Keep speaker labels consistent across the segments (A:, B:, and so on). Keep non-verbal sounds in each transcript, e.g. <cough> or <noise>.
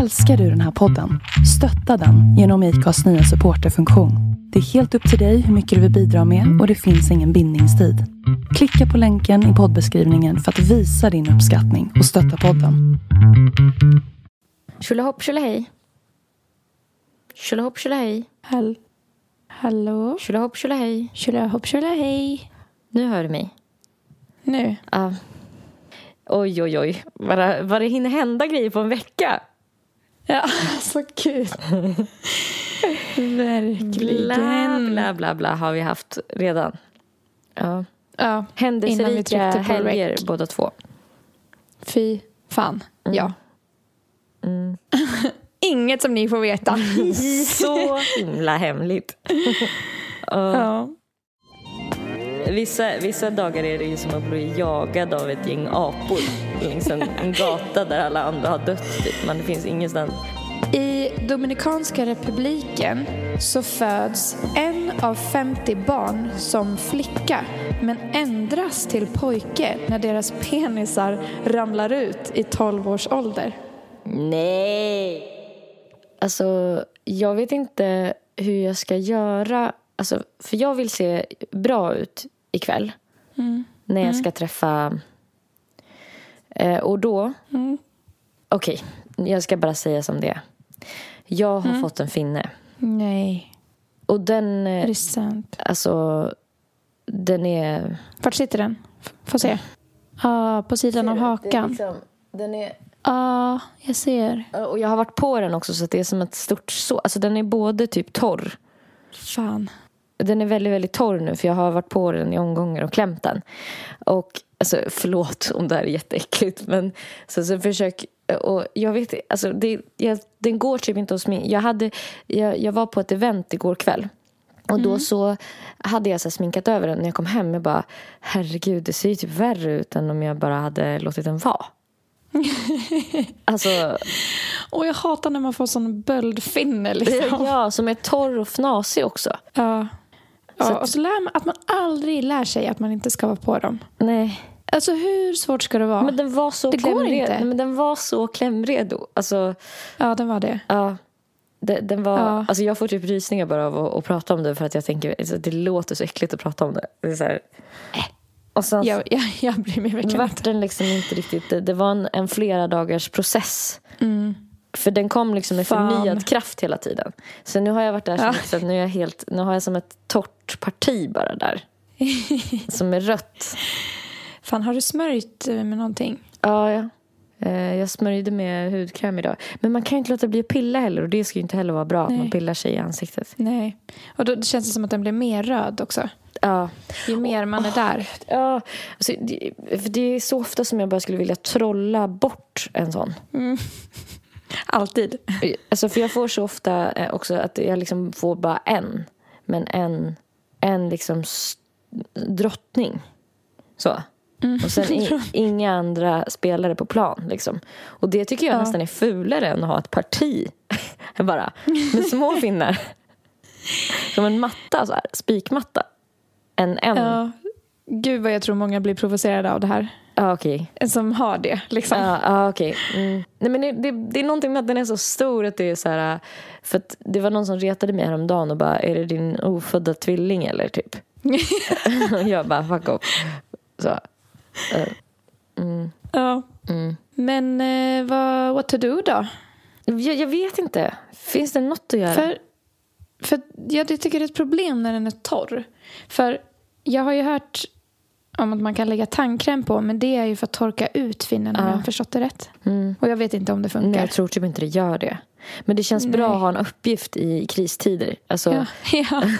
A: Älskar du den här podden? Stötta den genom IKAs nya supporterfunktion. Det är helt upp till dig hur mycket du vill bidra med och det finns ingen bindningstid. Klicka på länken i poddbeskrivningen för att visa din uppskattning och stötta podden.
B: Tjolahopp tjolahej. Tjolahopp tjolahej.
C: Hall Hallå?
B: Tjolahopp tjolahej.
C: Tjolahopp hej.
B: Nu hör du mig.
C: Nu?
B: Ja. Oj, oj, oj. Bara- Vad det hinner hända grejer på en vecka.
C: Ja, <laughs> så <laughs> kul.
B: Bla,
C: Verkligen.
B: bla, bla, bla har vi haft redan. Ja.
C: Ja, Innan vi
B: Händelserika
C: tryckte på
B: helger
C: rec.
B: båda två.
C: fy fan. Ja.
B: Mm. <laughs>
C: Inget som ni får veta.
B: Så himla hemligt. Ja.
C: <laughs> ja.
B: vissa, vissa dagar är det ju som att bli jagad av ett gäng apor. Längs en, en gata där alla andra har dött. Typ. Men det finns ingenstans.
C: I Dominikanska republiken så föds en av 50 barn som flicka men ändras till pojke när deras penisar ramlar ut i 12 års ålder.
B: Nej! Alltså, jag vet inte hur jag ska göra. Alltså, för jag vill se bra ut ikväll. När jag ska träffa... Eh, och då... Okej, jag ska bara säga som det är. Jag har fått en finne.
C: Nej,
B: Och den...
C: är
B: Eh,
C: det sant?
B: alltså, den är...
C: Vart sitter den? F- Få se. Ah, på sidan av hakan.
B: liksom, den är...
C: Ja, jag ser.
B: Och jag har varit på den också, så att det är som ett stort så. Alltså, den är både typ torr
C: Fan.
B: Den är väldigt, väldigt torr nu för jag har varit på den i omgångar och klämt den. Och alltså, förlåt om det här är jätteäckligt men så, så försök och jag vet alltså det, jag, den går typ inte att sminka. Jag, hade, jag, jag var på ett event igår kväll och då så hade jag så här sminkat över den när jag kom hem. Jag bara herregud det ser ju typ värre ut än om jag bara hade låtit den vara. alltså
C: Och jag hatar när man får
B: <laughs>
C: sån böldfinne liksom.
B: ja som är torr och fnasig också.
C: Ja.
B: Så
C: ja.
B: att-
C: Och så lär man att man aldrig lär sig att man inte ska vara på dem.
B: Nej.
C: Alltså hur svårt ska det vara?
B: Men den var så
C: Det går
B: klämredo.
C: inte.
B: Nej, Men den var så klämredo. Alltså,
C: Ja, den var det.
B: ja. De- Den var,
C: Ja.
B: alltså jag får typ rysningar bara av att, att prata om det för att jag tänker alltså, det låter så äckligt att prata om det. det är så här. Och sen
C: Jag, jag, jag blir mig Äh. verkligen inte.
B: vart den liksom inte riktigt... Det, det var en, en flera dagars process.
C: Mm.
B: För den kom liksom med
C: Fan.
B: förnyad kraft hela tiden. Så nu har jag varit där så
C: Ja.
B: mycket så att nu, är jag helt, nu har jag som ett torrt parti bara
C: <laughs>
B: där. som är rött.
C: Fan, har du smörjt eh, med någonting?
B: Ja, ja. Eh, Jag smörjde med hudkräm idag. Men man kan ju inte låta bli att pilla heller. Och det ska ju inte heller vara bra att man
C: Nej.
B: pillar sig i ansiktet.
C: Nej. Och då känns det som att den blir mer röd också.
B: Ja.
C: Ju mer man är där.
B: ja. Alltså, det, för det är så ofta som jag bara skulle vilja trolla bort en sån.
C: Alltid.
B: Alltså, för jag får så ofta eh, också att jag liksom får bara en. Men en, en liksom s- drottning. Så.
C: Mm.
B: Och sen
C: <laughs>
B: i, inga andra spelare på plan. Liksom. Och det tycker jag
C: Ja.
B: nästan är fulare än att ha ett parti. <laughs> bara. Med små
C: <laughs>
B: finnar. Som en matta, så här, spikmatta. En en. Ja,
C: Ja. Gud vad jag tror många blir provocerade av det här.
B: okej.
C: Som har det liksom.
B: Ja, ja, okej. Mm. Nej, men det, det, det är någonting med att den är så stor att det är så här... äh, För att det var någon som retade mig häromdagen och bara, är det din ofödda tvilling eller
C: <laughs>
B: typ? Och jag bara, fuck off. Så. eh, Mm.
C: Ja.
B: Mm.
C: Men eh, vad, what to do då?
B: Jag, jag vet inte. Finns det något att göra?
C: För, för jag tycker det är ett problem när den är torr. För jag har ju hört om att man kan lägga tandkräm på men det är ju för att torka ut finnen om
B: Ja.
C: jag har förstått det rätt.
B: Mm.
C: Och jag vet inte om det funkar.
B: Nej, jag tror typ inte det gör det. Men det känns bra
C: Nej.
B: att ha en uppgift i kristider. Alltså,
C: Ja, ja. <laughs>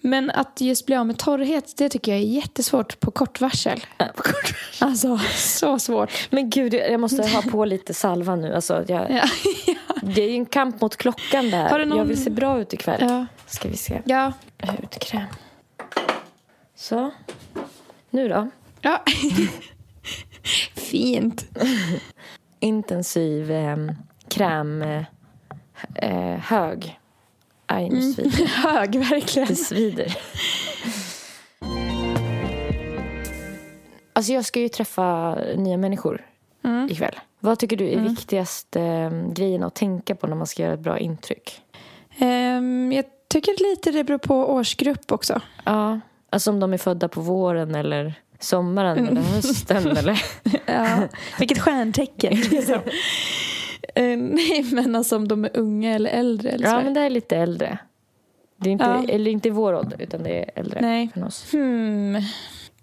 C: Men att just bli av med torrhet, det tycker jag är jättesvårt på
B: <laughs>
C: kort varsel.
B: eh, på kort-
C: Alltså, så svårt.
B: Men gud, jag jag måste ha
C: <laughs>
B: på lite salva nu. Alltså, jag,
C: Ja,
B: Det är ju en kamp mot klockan där.
C: Har du någon-
B: Jag vill se bra ut ikväll.
C: ja.
B: Ska vi se.
C: ja.
B: Hudkräm. Så. Nu då.
C: ja. Fint.
B: Intensiv eh, kräm eh, eh, hög. Aj,
C: Mm.
B: nu svider det.
C: Hög, verkligen.
B: det. svider. Alltså jag ska ju träffa nya människor
C: Mm.
B: ikväll. Vad tycker du är viktigaste eh, grejen att tänka på när man ska göra ett bra intryck?
C: Ehm, jag tycker lite det beror på årsgrupp också.
B: Ja, alltså om de är födda på våren eller sommaren eller <laughs> hösten eller...
C: <laughs> Ja. Vilket stjärntecken. Liksom. Eh, nej, men alltså om de är unga eller äldre. Eller
B: Ja,
C: så.
B: men det här är lite äldre. Det är inte,
C: Ja.
B: Eller inte i vår ålder, utan det är äldre
C: Nej.
B: än oss.
C: Hmm.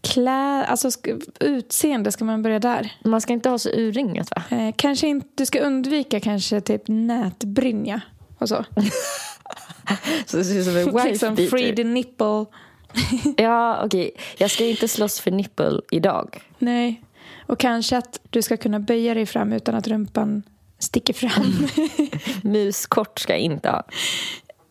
C: Klä, alltså sk- utseende, ska man börja där?
B: Man ska inte ha så urringat, va?
C: Eh, kanske inte, du ska undvika kanske typ nätbrynja och så.
B: Så det ser ut som en wife
C: liksom free
B: beater.
C: the nipple.
B: Ja, okej. Jag ska inte slåss för nipple idag.
C: Nej. Och kanske att du ska kunna böja dig fram utan att rumpan sticker fram.
B: Muskort ska jag inte ha.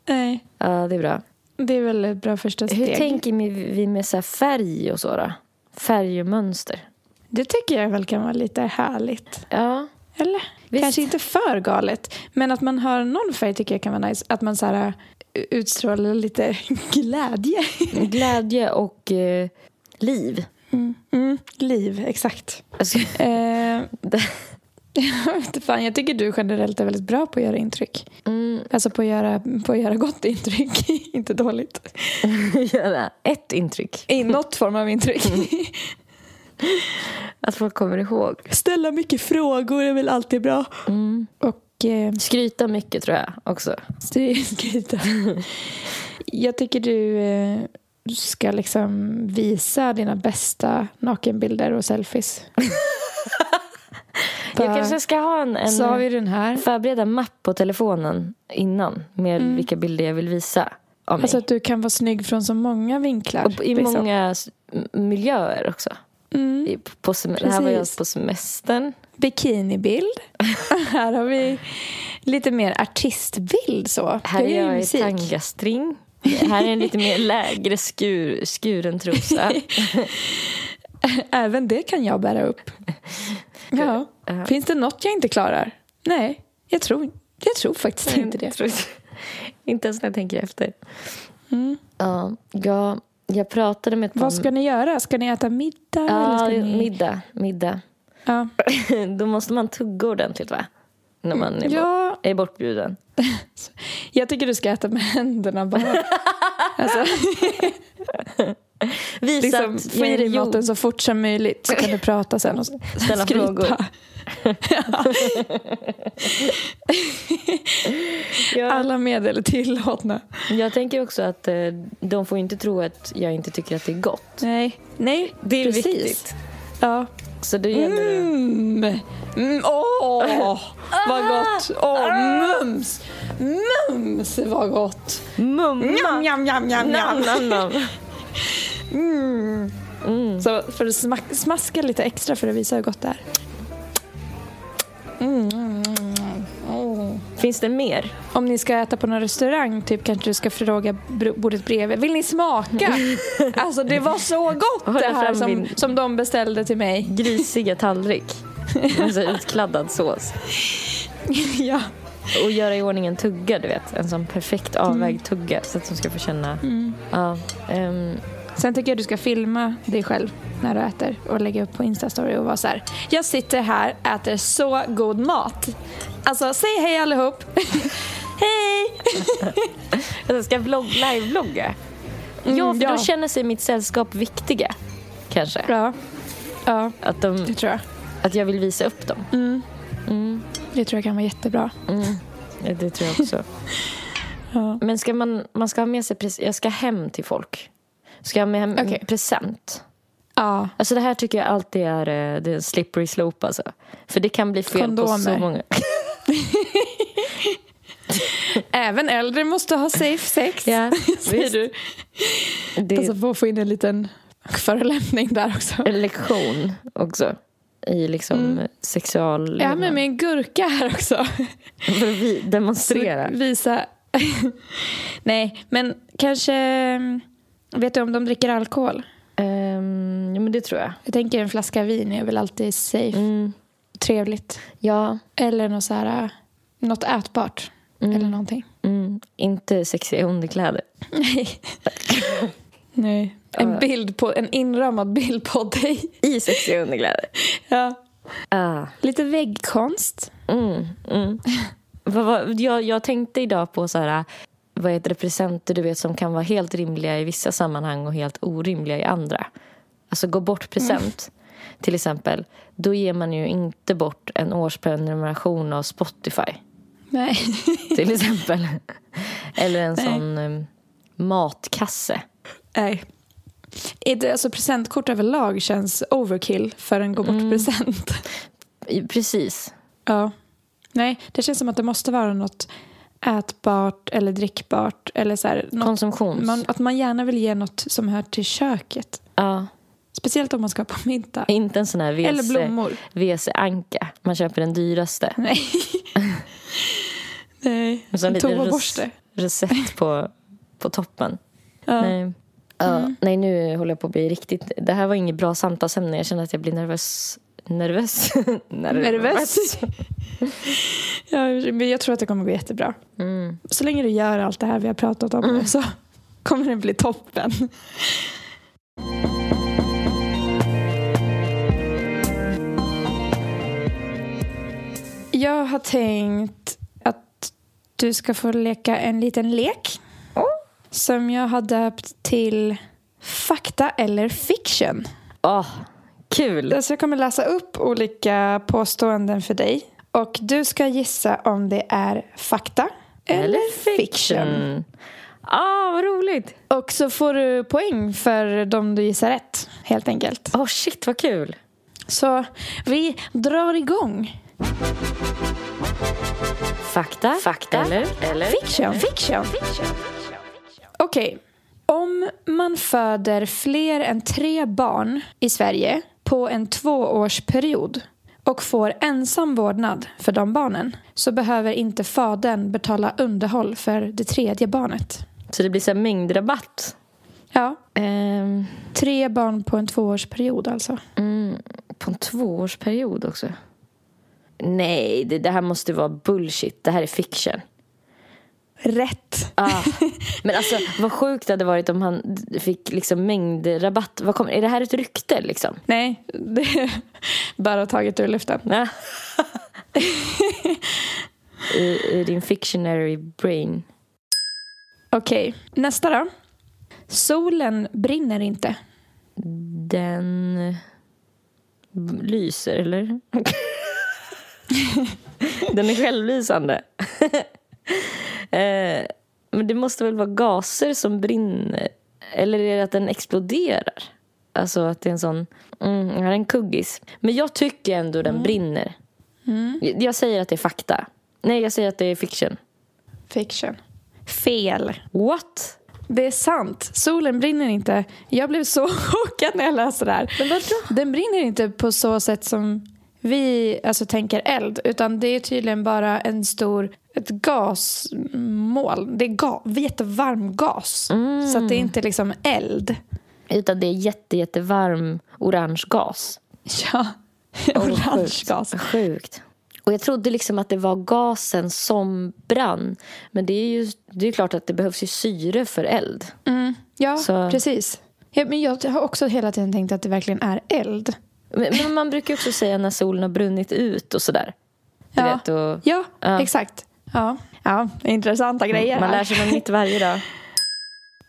C: nej,
B: Ja, det är bra.
C: det är väl ett bra första steg.
B: Hur tänker ni- vi med så här färg och så då? Färg och mönster.
C: Det tycker jag väl kan vara lite härligt.
B: Ja.
C: Eller?
B: Visst.
C: Kanske inte för galet, men att man har någon färg tycker jag kan vara nice. Att man så här, eh, utstrålar lite <laughs> glädje.
B: Glädje och eh, liv.
C: Mm, liv, exakt.
B: Alltså, <laughs>
C: Eh, <laughs>
B: det-
C: jag vet inte fan, jag tycker du generellt är väldigt bra på att göra intryck.
B: mm, <laughs>
C: Alltså på att göra, på att göra gott intryck, <laughs> inte dåligt.
B: göra ett intryck.
C: I något form av intryck.
B: Att folk kommer ihåg.
C: <laughs> Ställa mycket frågor är väl alltid bra.
B: Mm.
C: Och eh,
B: Skryta mycket tror jag också.
C: skry- skryta. Jag tycker du eh, ska liksom visa dina bästa nakenbilder
B: <laughs>
C: och selfies.
B: Jag kanske ska ha en, en
C: Så har vi den här.
B: förbereda mapp på telefonen innan med vilka bilder jag vill visa av mig.
C: Alltså att du kan vara snygg från så många vinklar.
B: och i
C: liksom.
B: många s- m- miljöer också.
C: Mm.
B: I- På sem- det här var jag
C: Precis.
B: på semestern. <laughs>
C: Bikinibild. här har vi lite mer artistbild så.
B: Här
C: Jag
B: är
C: gör ju
B: jag i
C: musik.
B: tangastring. Här är en lite mer lägre skur, skuren <laughs> trosa.
C: <laughs> Även det kan jag bära
B: <laughs>
C: upp. Ja.
B: Ja.
C: Finns det något jag inte klarar? Nej, jag tror, jag tror faktiskt
B: Mm.
C: inte det.
B: Tror- inte ens när jag tänker efter.
C: Mm.
B: Ja, jag, jag pratade med ett
C: Vad ska ni göra? Ska ni äta middag? eller
B: Mm. Ja,
C: ska ni...
B: middag. middag.
C: ja.
B: <laughs> Då måste man tugga ordentligt, va? När man är, bort,
C: ja,
B: är bortbjuden.
C: jag tycker du ska äta med <laughs> händerna bara. alltså,
B: Visa
C: liksom,
B: att
C: få
B: jag
C: i
B: är
C: dig
B: jord.
C: maten så fort som möjligt så kan du prata sen och så-
B: <laughs> Ställa
C: skryta.
B: frågor. Jag,
C: Alla medel är tillåtna.
B: jag tänker också att eh, de får ju inte tro att jag inte tycker att det är gott.
C: Nej, Nej
B: Det är
C: precis.
B: viktigt.
C: Ja.
B: Så det gäller det. <laughs>
C: Mm. Mm, åh, vad gott! Åh,
B: Ah.
C: mums! Mums, vad gott!
B: Mumma!
C: Njam, njam, njam, njam,
B: Nam,
C: njam.
B: nam, <laughs> nam. Mm.
C: Så för att smak- smaska lite extra för att visa hur gott det är. Mm, mm, mm, mm.
B: Finns det mer?
C: Om ni ska äta på någon restaurang typ kanske du ska fråga br- bordet bredvid. Vill ni smaka? Alltså det var så gott
B: Hålla
C: det här
B: fram
C: som,
B: din-
C: som de beställde
B: <laughs>
C: till mig.
B: Grisiga
C: <laughs>
B: tallrik med så här utkladdad sås.
C: ja.
B: Och göra i ordning en tugga, du vet. En sån perfekt
C: Mm.
B: avvägd tugga så att de ska få känna... Ja, ehm,
C: Sen tycker jag du ska filma dig själv när du äter och lägga upp på Instastory och vara så här. Jag sitter här, äter så god mat. Alltså säg hej allihop. <laughs> hej!
B: jag ska vlogg, live-vlogga. Mm, ja, för
C: Mm, ja.
B: då känner sig mitt sällskap viktiga. Kanske.
C: Ja. ja,
B: Att, de,
C: det tror jag.
B: att jag vill visa upp dem. Mm.
C: Det tror jag kan vara jättebra.
B: Ja, Det tror jag också.
C: Mm. <laughs> Ja.
B: Men ska man, man ska ha med sig... pres- Jag ska hem till folk. Ska jag ha med hem en
C: Okej.
B: present?
C: Ja,
B: Alltså det här tycker jag alltid är, eh, det är en slippery slope alltså. För det kan bli fel på så
C: Kondomer.
B: många.
C: även äldre måste ha safe sex.
B: Ja, <laughs>
C: Säger
B: visst.
C: du. Alltså,
B: Det
C: Passa
B: är
C: på att få in en liten förolämpning där också.
B: en lektion också. I liksom sexual...
C: Mm. Ja, men med en gurka här också.
B: <laughs> För att vi demonstrera.
C: Visa. <laughs> Nej, men kanske... mm, Vet du om de dricker alkohol?
B: Ehm, ja men det tror jag.
C: Jag tänker en flaska vin är väl alltid safe.
B: Mm.
C: Trevligt.
B: Ja.
C: Eller något, så här, äh, något ätbart. Eller <laughs> någonting.
B: Mm. Inte sexiga underkläder.
C: Nej. Nej. En bild på, en inramad bild på dig.
B: I sexiga underkläder.
C: Ja.
B: Ah.
C: Lite väggkonst.
B: Mm, mm. Vad var- jag, jag tänkte idag på så här, vad heter det, presenter du vet, som kan vara helt rimliga i vissa sammanhang och helt orimliga i andra. Alltså gå bort-present,
C: Mm.
B: till exempel. Då ger man ju inte bort en årsprenumeration av Spotify,
C: Nej. <laughs>
B: till exempel. Eller en
C: Nej.
B: sån em, matkasse.
C: Nej. Är det- Alltså presentkort överlag känns overkill för
B: Mm.
C: en gå bort-present.
B: I- Precis.
C: <laughs> Ja. Nej, det känns som att det måste vara något ätbart eller drickbart. Eller så här, något,
B: Konsumtions.
C: man, att man gärna vill ge något som hör till köket.
B: Ja.
C: Speciellt om man ska på middag.
B: Inte en sån här
C: Eller
B: WC
C: blommor.
B: WC-anka. Man köper den dyraste.
C: Nej. Nej.
B: Och så en
C: En
B: liten
C: toaborste.
B: recept på, på toppen.
C: Ja. Mm.
B: Nej. Ja, nej, nu håller jag på att bli riktigt... Det här var inget bra samtalsämne. Jag känner att jag blir nervös. Nervös? <laughs>
C: Nervös. <laughs> ja, men jag tror att det kommer gå jättebra.
B: Mm.
C: Så länge du gör allt det här vi har pratat om nu så kommer det bli toppen. Jag har tänkt att du ska få leka en liten lek som jag har döpt till Fakta eller fiction.
B: Åh, kul!
C: Alltså jag kommer läsa upp olika påståenden för dig och du ska gissa om det är fakta eller fiction.
B: Ah, vad roligt!
C: Och så får du poäng för de du gissar rätt, helt enkelt.
B: Åh, shit, vad kul!
C: Så vi drar igång.
B: Fakta, Fakta. Eller, eller
C: Fiction. Fiction. Okej. Om man föder fler än tre barn i Sverige på en tvåårsperiod och får ensam vårdnad för de barnen så behöver inte fadern betala underhåll för det tredje barnet.
B: Så det blir så här mängdrabatt.
C: Ja,
B: Ehm,
C: tre barn på en tvåårsperiod alltså.
B: mm, på en tvåårsperiod också. Nej, det, det här måste vara bullshit. Det här är fiction.
C: Rätt.
B: Ah. Men alltså vad sjukt det hade varit om han d- fick liksom mängdrabatt. Vad kom, är det här ett rykte liksom?
C: Nej, <laughs> det är bara taget ur luften.
B: Ja. I, I din fictionary brain.
C: Okej, nästa då. Solen brinner inte.
B: Den b- lyser eller? Den är självlysande. <laughs> eh, men det måste väl vara gaser som brinner? Eller är det att den exploderar? Alltså att det är en sån... Mm, jag har en kuggis. Men jag tycker ändå den brinner. Jag, jag säger att det är fakta. Nej, jag säger att det är fiction.
C: Fiction. Fel.
B: What?
C: Det är sant. Solen brinner inte. Jag blev så <laughs> chockad när jag läste det här.
B: Men vadå?
C: Den brinner inte på så sätt som vi alltså, tänker eld. Utan det är tydligen bara en stor, ett gasmoln. Det är ga, jättevarm gas. Så att det är
B: Mm.
C: inte liksom eld. <laughs>
B: Utan det är jätte, jättevarm orange gas.
C: Ja, orange
B: Oh, sjukt.
C: gas.
B: Sjukt. Och jag trodde liksom att det var gasen som brann. Men det är ju det är ju klart att det behövs ju syre för eld.
C: Mm. Ja,
B: Så-
C: precis. Ja, men jag har också hela tiden tänkt att det verkligen är eld.
B: Men, men man brukar ju också säga när solen har brunnit ut och sådär. Du
C: Ja.
B: vet, och
C: Ja,
B: Ja. Mm,
C: exakt. Ja. ja, intressanta grejer.
B: man
C: här.
B: lär sig något nytt varje dag.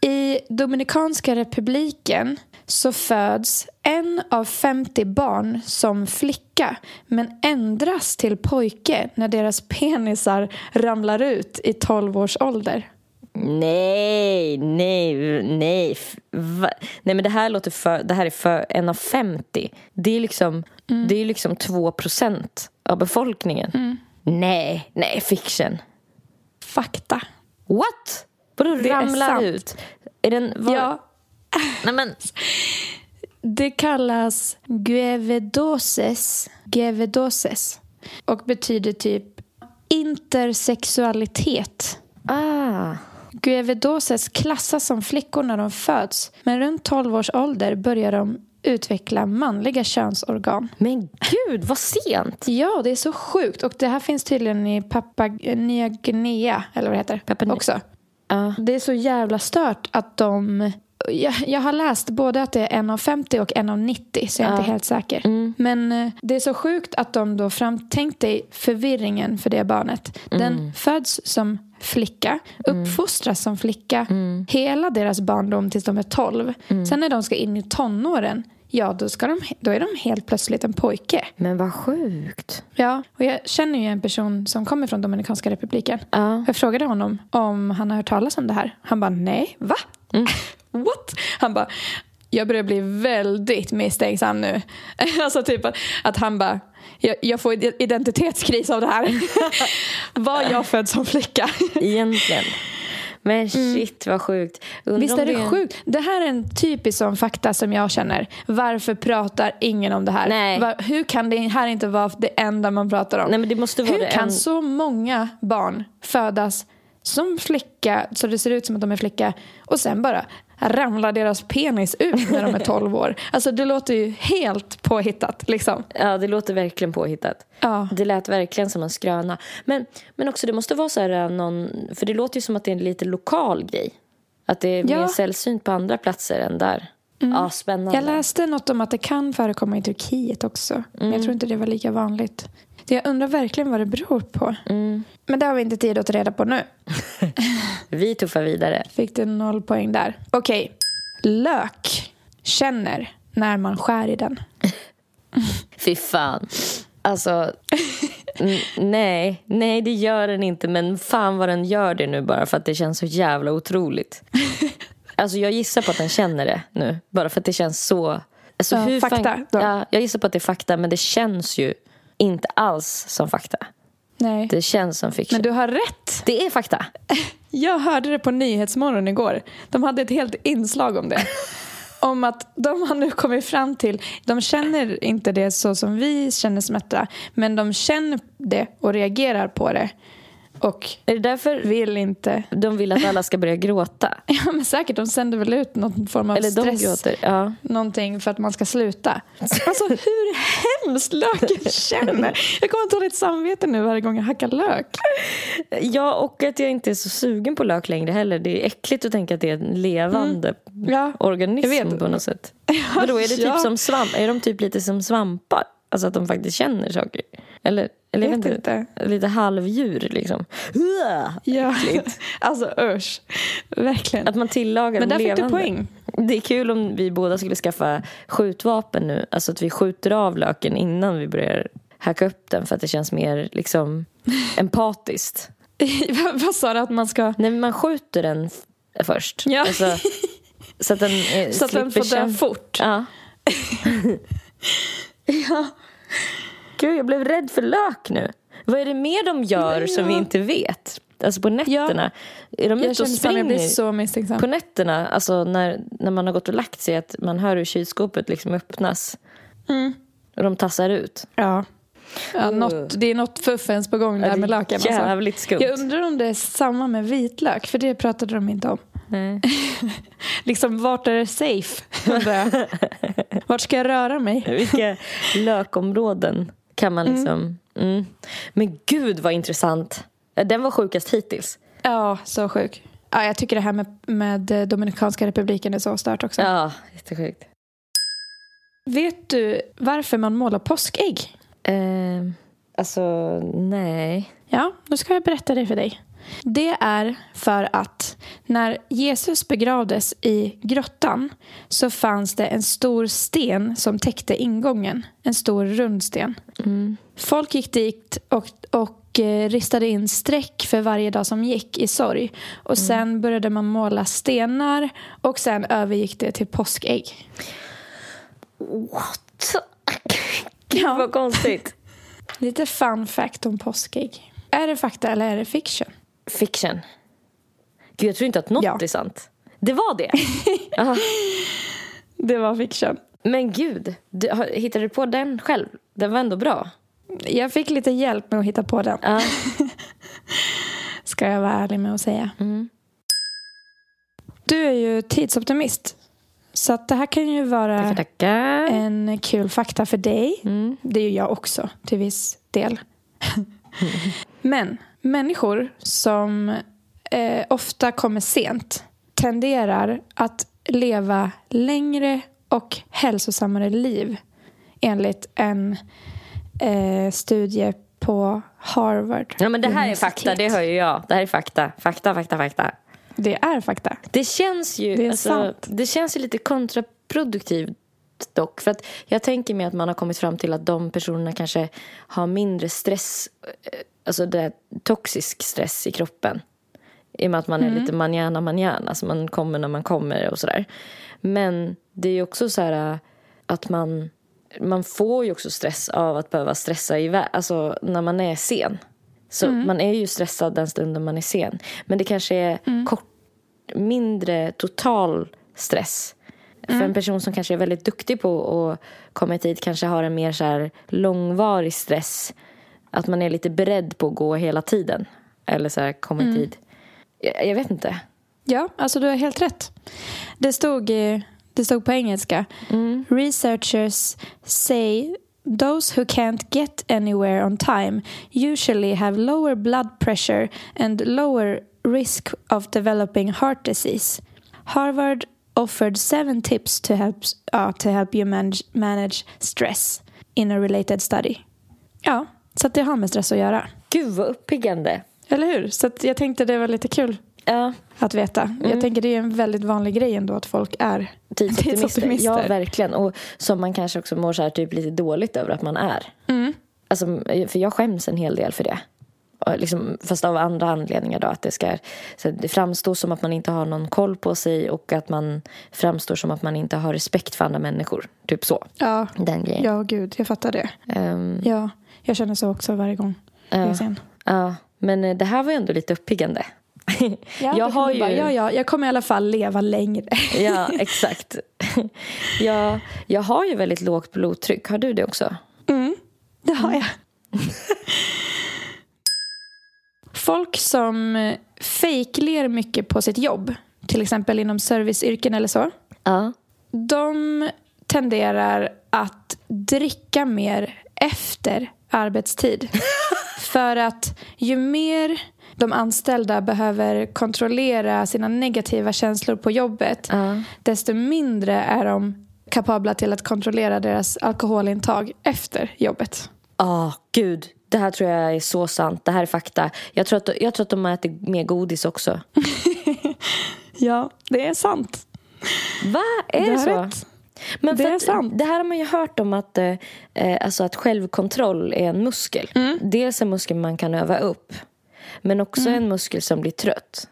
C: I Dominikanska republiken så föds en av 50 barn som flicka men ändras till pojke när deras penisar ramlar ut i 12 års ålder.
B: Nej, nej, nej. F- va? Nej men det här låter för, det här är för en av 50. Det är liksom, det är liksom 2 procent av befolkningen. Nej, nej, fiction.
C: Fakta.
B: What? Vadå
C: Det är
B: ramlar
C: sant.
B: ut? Är den, var,
C: Ja,
B: Nej men,
C: Det kallas guevedoses. Guevedoses. Och betyder typ intersexualitet.
B: ah.
C: Guevedoses klassas som flickor när de föds. Men runt 12 års ålder börjar de utveckla manliga könsorgan.
B: Men gud, vad sent!
C: Ja, det är så sjukt. Och det här finns tydligen i Papua Nya Guinea, eller vad det heter,
B: Papua Ny-
C: också.
B: Ja.
C: Det är så jävla stört att de jag, jag har läst både att det är en av 50 och en av 90 så jag är
B: Ja.
C: inte helt säker.
B: Mm.
C: Men eh, det är så sjukt att de då fram, tänk dig förvirringen för det barnet. Den
B: Mm.
C: föds som flicka, uppfostras som flicka
B: Mm.
C: hela deras barndom tills de är 12. Sen när de ska in i tonåren, ja då, ska de, då är de helt plötsligt en pojke.
B: Men vad sjukt.
C: Ja, och jag känner ju en person som kommer från Dominikanska republiken.
B: Ja.
C: Jag frågade honom om han har hört talas om det här. Han bara, nej, va? <laughs> What? Han bara, jag börjar bli väldigt misstänksam nu. <laughs> alltså typ att, att han bara, jag, jag får ide- identitetskris av det här. <laughs> Var jag född som flicka?
B: Egentligen. Men shit vad sjukt. Undrar
C: Mm. Visst
B: om
C: är
B: en-
C: det sjukt? Det här är en typisk sån fakta som jag känner. Varför pratar ingen om det här?
B: Nej.
C: Var, hur kan det här inte vara det enda man pratar om?
B: Nej men det måste vara
C: Hur
B: det
C: kan
B: en...
C: så många barn födas som flicka, så det ser ut som att de är flicka och sen bara ramlar deras penis ut när
B: <laughs>
C: de är 12 år? Alltså det låter ju helt påhittat liksom.
B: Ja det låter verkligen påhittat.
C: Ja.
B: Det lät verkligen som en skröna. Men, men också det måste vara så här eh, någon, för det låter ju som att det är en lite lokal grej. Att det är
C: Ja. Mm.
B: mer sällsynt på andra platser än där. Ja spännande.
C: Jag läste något om att det kan förekomma i Turkiet också. Men jag tror inte det var lika vanligt. Så jag undrar verkligen vad det beror på. Men det har vi inte tid att ta reda på nu.
B: Vi tuffar vidare.
C: Fick du noll poäng där. Okej. Lök känner när man skär i den.
B: Fy fan. Alltså, n- nej, nej det gör den inte. Men fan vad den gör det nu bara för att det känns så jävla otroligt. Alltså jag gissar på att den känner det nu. Bara för att det känns så... Alltså,
C: Ja, fakta
B: Fan,
C: då.
B: ja, jag gissar på att det är fakta men det känns ju inte alls som fakta.
C: Nej.
B: Det känns som fiction.
C: Men du har rätt.
B: Det är fakta.
C: Jag hörde det på Nyhetsmorgon igår. De hade ett helt inslag
B: <laughs>
C: om det. Om att de har nu kommit fram till, de känner inte det så som vi känner smärta, men de känner det och reagerar på det och
B: Är det därför
C: vill inte. <laughs>
B: de vill att alla ska börja gråta?
C: Ja men säkert, de sänder väl ut någon form av
B: Eller de
C: stress,
B: gråter? Ja.
C: någonting för att man
B: <laughs>
C: ska sluta. Alltså hur hemskt löken känner. Jag kommer att ha dåligt samvete nu varje gång jag hackar lök.
B: ja, och att jag inte är så sugen på lök längre heller. Det är äckligt att tänka att det är en levande
C: Ja,
B: organism
C: Jag vet.
B: på något sätt. Vadå, är det typ
C: <laughs> ja.
B: som svamp? Är de typ lite som svampar? Alltså att de faktiskt känner saker? Eller, eller
C: Vet
B: Lite halvdjur liksom.
C: <laughs> ja. Alltså usch, verkligen.
B: Att man tillagar
C: Men
B: dem
C: där fick
B: levande.
C: du poäng.
B: Det är kul om vi båda skulle skaffa skjutvapen nu. Alltså att vi skjuter av löken innan vi börjar hacka upp den för att det känns mer liksom
C: <laughs>
B: empatiskt.
C: Vad- Vad sa du att man ska...
B: Nej men man skjuter den f- först.
C: Ja.
B: Alltså, så att den eh,
C: <laughs> Så att den
B: slipper
C: får dö
B: kän-
C: fort.
B: <laughs> Ja. Gud jag blev rädd för lök nu. Vad är det mer de gör som vi inte vet? Alltså på nätterna. Är de
C: Jag
B: ute och
C: känner fan, jag blir
B: Mm, springer?
C: så misstänksam.
B: På nätterna, alltså när, när man har gått och lagt sig, att man hör hur kylskåpet liksom öppnas. Och de tassar ut.
C: Ja. Mm. Ja, något, det är något fuffens på gång
B: Oh. Ja,
C: där
B: det
C: med
B: är
C: löken.
B: jävligt skumt.
C: Jag undrar om det är samma med vitlök, för det pratade de inte om.
B: Nej. <laughs>
C: Liksom, vart är det safe? <laughs> undrar jag. vart ska jag röra mig?
B: Vilka lökområden kan man liksom... Mm. Men gud vad intressant. Den var sjukast hittills.
C: Ja, så sjuk. Ja, jag tycker det här med, med Dominikanska republiken är så stört också.
B: Ja, jättesjukt.
C: Vet du varför man målar påskägg?
B: Eh, alltså, nej.
C: Ja, nu ska jag berätta det för dig. Det är för att när Jesus begravdes i grottan så fanns det en stor sten som täckte ingången. En stor rund sten. Mm. Folk gick dit och, och eh, ristade in streck för varje dag som gick i sorg. Och sen började man måla stenar och sen övergick det till påskägg.
B: What? <laughs> Gud, vad konstigt.
C: Lite fun fact om påskägg. Är det fakta eller är det fiction?
B: Fiction. Gud, jag tror inte att något
C: Ja.
B: är sant. Det var
C: <laughs>
B: det.
C: Det var fiction.
B: Men gud, du, har- hittade du på den själv? Den var ändå bra.
C: Jag fick lite hjälp med att hitta på den.
B: Ja.
C: Ska jag vara ärlig med att säga.
B: Mm.
C: Du är ju tidsoptimist. Så att det här kan ju vara
B: Tackar, tackar.
C: en kul fakta för dig.
B: Mm.
C: Det är ju jag också till viss del. Men människor som eh, ofta kommer sent tenderar att leva längre och hälsosammare liv enligt en eh, studie på Harvard.
B: Ja, men det här är
C: universitet.
B: fakta, det hör ju jag. Det här är fakta. Fakta, fakta, fakta.
C: Det är fakta.
B: Det känns ju,
C: Det är
B: alltså,
C: sant.
B: det känns ju lite kontraproduktivt dock. För att jag tänker mig att man har kommit fram till att de personerna kanske har mindre stress, eh, alltså det är toxisk stress i kroppen. I och med att man är lite manjana manjana, alltså man kommer när man kommer och sådär. Men det är ju också så här eh, att man, man får ju också stress av att behöva stressa iväg, alltså när man är sen. Så man är ju stressad den stunden man är sen. Men det kanske är kort, mindre total stress. För en person som kanske är väldigt duktig på att komma i tid kanske har en mer så här långvarig stress. Att man är lite beredd på att gå hela tiden. Eller så här, komma i tid. Jag, jag vet inte.
C: Ja, alltså du har helt rätt. Det stod, eh, det stod på engelska. Mm. Researchers say those who can't get anywhere on time usually have lower blood pressure and lower risk of developing heart disease. Harvard offered seven tips to help, ja, to help you manage, manage stress in a related study. Ja, så att det har med stress att göra.
B: Gud vad uppiggande.
C: Eller hur? Så att jag tänkte det var lite kul
B: Ja,
C: att veta.
B: Mm.
C: Jag tänker det är en väldigt vanlig grej ändå att folk är
B: tidsoptimister. Typ Ja,
C: tidsoptimister.
B: verkligen. Och som man kanske också mår så här, typ lite dåligt över att man är. Alltså, för jag skäms en hel del för det. Och Liksom, fast av andra anledningar då. Att det, ska, så att det framstår som att man inte har någon koll på sig och att man framstår som att man inte har respekt för andra människor. Typ så.
C: Ja,
B: Den grejen.
C: ja gud, jag fattar det.
B: Ehm,
C: Ja, jag känner så också varje gång jag är sen.
B: ja. Men eh, det här var ju ändå lite uppiggande.
C: Ja,
B: jag
C: då kan
B: har
C: man
B: ju...
C: Bara, ja, ja, jag kommer i alla fall
B: <laughs>
C: leva längre.
B: ja, exakt. <laughs> jag, jag har ju väldigt lågt blodtryck. Har du det också?
C: Mm. Det
B: <laughs>
C: har jag. Folk som eh, fejkler mycket på sitt jobb, till exempel inom serviceyrken eller så,
B: Ja.
C: de tenderar att dricka mer efter <laughs> arbetstid. För att ju mer de anställda behöver kontrollera sina negativa känslor på jobbet
B: Ja.
C: desto mindre är de kapabla till att kontrollera deras alkoholintag efter jobbet.
B: Ja, gud. Det här tror jag är så sant. Det här är fakta. Jag tror att, jag tror att de äter mer godis också.
C: Ja, det är sant.
B: Va? Är det,
C: Du har
B: så?
C: rätt.
B: Men för
C: Det är
B: att,
C: sant.
B: Det här har man ju hört om att, eh, eh, alltså att självkontroll är en muskel.
C: Mm.
B: Dels en muskel man kan öva upp, men också en muskel som blir trött.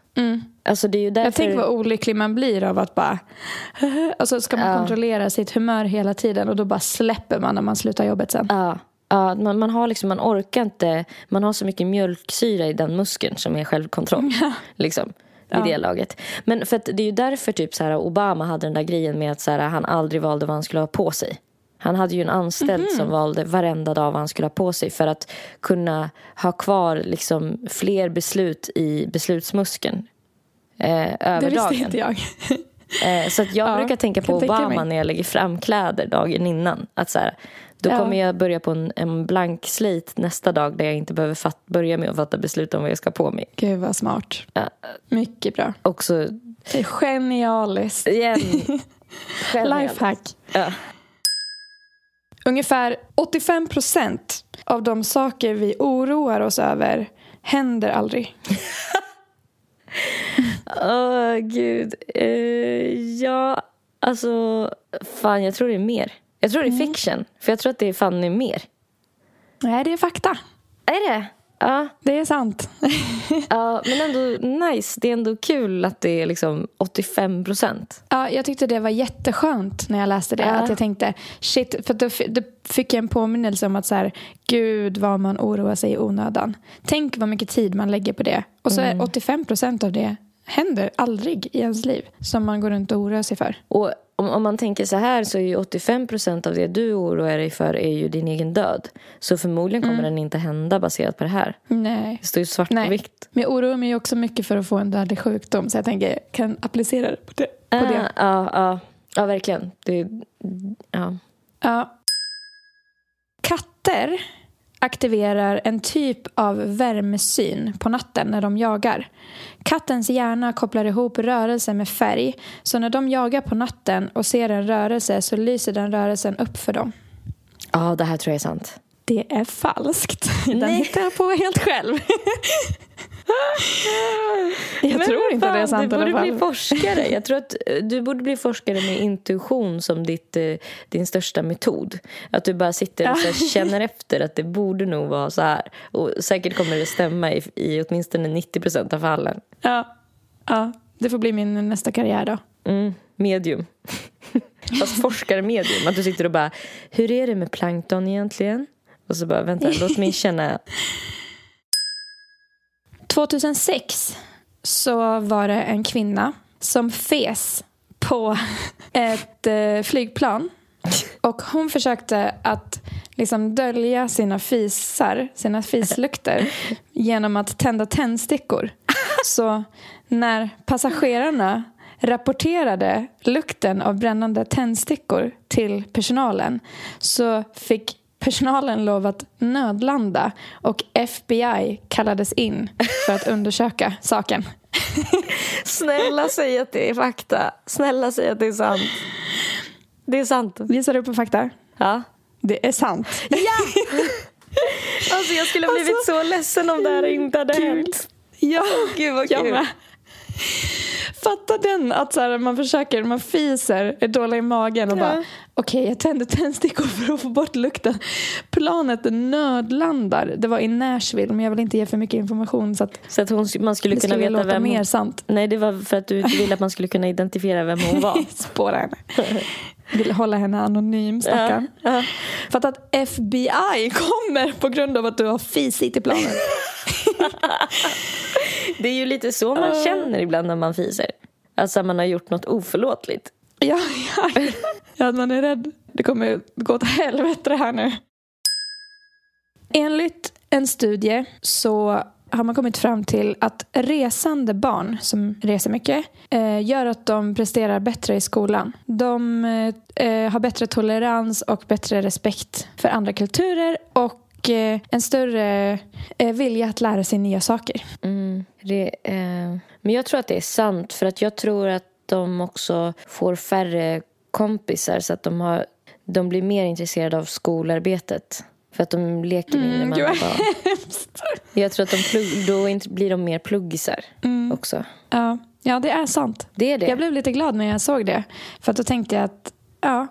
B: Alltså det är ju därför...
C: Mm. Jag tänker vad olycklig man blir av att bara... <laughs> Och så ska man
B: Ja.
C: kontrollera sitt humör hela tiden och då bara släpper man när man slutar jobbet sen.
B: Ja, ja man, man, har liksom, man orkar inte. Man har så mycket mjölksyra i den muskeln som är självkontroll. Liksom, I det laget. Men för att det är ju därför typ så här, Obama hade den där grejen med att så här, han aldrig valde vad han skulle ha på sig. Han hade ju en anställd
C: Mhm.
B: som valde varenda dag vad han skulle ha på sig för att kunna ha kvar liksom, fler beslut i beslutsmuskeln. Eh, över
C: Det visste
B: dagen.
C: inte jag.
B: Eh, så att jag
C: Ja,
B: brukar tänka på
C: kan tänka
B: Obama
C: mig.
B: när jag lägger fram kläder dagen innan. Att så här, då
C: Ja.
B: kommer jag börja på en, en blank slit nästa dag där jag inte behöver fat, börja med att fatta beslut om vad jag ska på mig.
C: <laughs> Gud vad smart.
B: Ja,
C: Mycket bra.
B: och så
C: Det är genialiskt. <laughs>
B: igen. Själv-
C: Lifehack.
B: Ja.
C: Ungefär 85 procent av de saker vi oroar oss över händer aldrig.
B: Åh, gud. Eh, ja, alltså... Fan, jag tror det är mer. Jag tror det är
C: Mm.
B: fiction. För jag tror att det är fan är mer.
C: Nej, det är fakta.
B: Är det? Ja.
C: Det är sant.
B: ja, men ändå nice. Det är ändå kul att det är liksom 85 procent.
C: Ja, jag tyckte det var jätteskönt när jag läste det.
B: Ja.
C: Att jag tänkte, shit, för då, fi- då fick jag en påminnelse om att så här, gud vad man oroar sig i onödan. Tänk vad mycket tid man lägger på det. Och så
B: Mm.
C: är 85 procent av det händer aldrig i ens liv. Som man går runt och oroar sig för.
B: Och om, om man tänker så här så är ju 85 procent av det du oroar dig för är ju din egen död. Så förmodligen kommer den inte hända baserat på det här.
C: Nej.
B: Det står ju svart
C: Mm. Nej.
B: på vitt.
C: Men jag oroar mig ju också mycket för att få en dödlig sjukdom så jag tänker jag kan applicera det på det. På
B: Ah,
C: det.
B: Ja, ja, ja, verkligen. Det, är- ja.
C: Ja. Katter aktiverar en typ av värmesyn på natten när de jagar. Kattens hjärna kopplar ihop rörelse med färg så när de jagar på natten och ser en rörelse så lyser den rörelsen upp för dem.
B: Ja, det här tror jag är sant.
C: Det är falskt. <laughs> Den
B: Nej.
C: hittar jag på helt
B: <laughs>
C: själv. jag
B: Men
C: tror
B: vad
C: inte det är
B: fan,
C: sant i
B: Du
C: alla
B: borde
C: fall.
B: bli
C: <laughs>
B: forskare. Jag tror att eh, du borde bli forskare med intuition som ditt, eh, din största metod. Att du bara sitter och så
C: <laughs>
B: här, känner efter att det borde nog vara så här. Och säkert kommer det stämma i, i åtminstone 90 procent av fallen.
C: Ja. ja, det får bli min nästa karriär då.
B: Mm, medium. Fast forskarmedium. Att du sitter och bara, hur är det med plankton egentligen? Och så bara, vänta, låt mig känna.
C: 2006 så var det en kvinna som fes på <laughs> ett eh, flygplan. Och hon försökte att liksom dölja sina fisar, sina fislukter genom att tända tändstickor. Så när passagerarna rapporterade lukten av brännande tändstickor till personalen så fick personalen lov att nödlanda och FBI kallades in för <laughs> att undersöka saken.
B: <laughs> Snälla säg att det är fakta. Snälla säg att det är sant. Det är sant.
C: Visar du på fakta?
B: Ja.
C: Det är sant.
B: Alltså jag skulle ha blivit så ledsen om det här inte hade
C: Gud.
B: hänt.
C: <laughs> Ja,
B: Gud vad
C: jag
B: kul.
C: med. Fatta den att så här, man försöker, man fiser, är dålig i magen och
B: Ja.
C: bara okej jag tänder tändstickor för att få bort lukten. Planet nödlandar, det var i Nashville men jag vill inte ge för mycket information så att
B: Så att hon, man skulle
C: det
B: kunna
C: skulle
B: veta
C: låta
B: vem
C: mer
B: hon...
C: sant.
B: Nej det var för att du inte ville att man skulle kunna identifiera vem hon <laughs> var.
C: <laughs> Spåra henne. Vill hålla henne anonym
B: ja.
C: stackarn.
B: Ja.
C: Fatta att FBI kommer på grund av att du har fisit i planet.
B: Det är ju lite så man
C: Ja.
B: känner ibland när man fiser. Alltså man har gjort något oförlåtligt.
C: Ja, ja. <laughs> ja man är rädd. Det kommer gå åt helvete det här nu. Enligt en studie så har man kommit fram till att resande barn som reser mycket eh, gör att de presterar bättre i skolan. De eh, har bättre tolerans och bättre respekt för andra kulturer och eh, en större eh, vilja att lära sig nya saker.
B: Mm, det, eh, men jag tror att det är sant för att jag tror att de också får färre kompisar så att de, har, de blir mer intresserade av skolarbetet. För att de leker mindre
C: Mm,
B: med
C: gud,
B: andra barn. Jag tror att de plugg, då inte- blir de mer pluggisar också.
C: Ja, ja det är sant.
B: Det är det.
C: Mm. Jag blev lite glad när jag såg det. För att då tänkte jag att ja,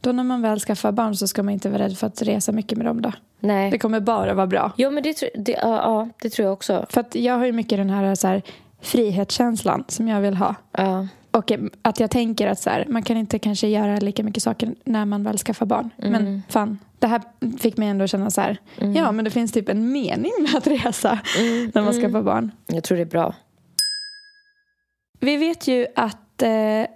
C: då när man väl skaffar barn så ska man inte vara rädd för att resa mycket med dem. Då.
B: Nej.
C: Det kommer bara vara bra.
B: Jo, men det, tr- det, ja, ja, det tror jag också.
C: För att jag har ju mycket den här, så här frihetskänslan som jag vill ha.
B: Ja.
C: Och eh, att jag tänker att så här, man kan inte kanske göra lika mycket saker när man väl skaffar barn.
B: Mm.
C: Men fan, det här fick mig ändå känna så här, ja men det finns typ en mening med att resa när man skaffar barn.
B: Mm. Jag tror det är bra.
C: Vi vet ju att eh,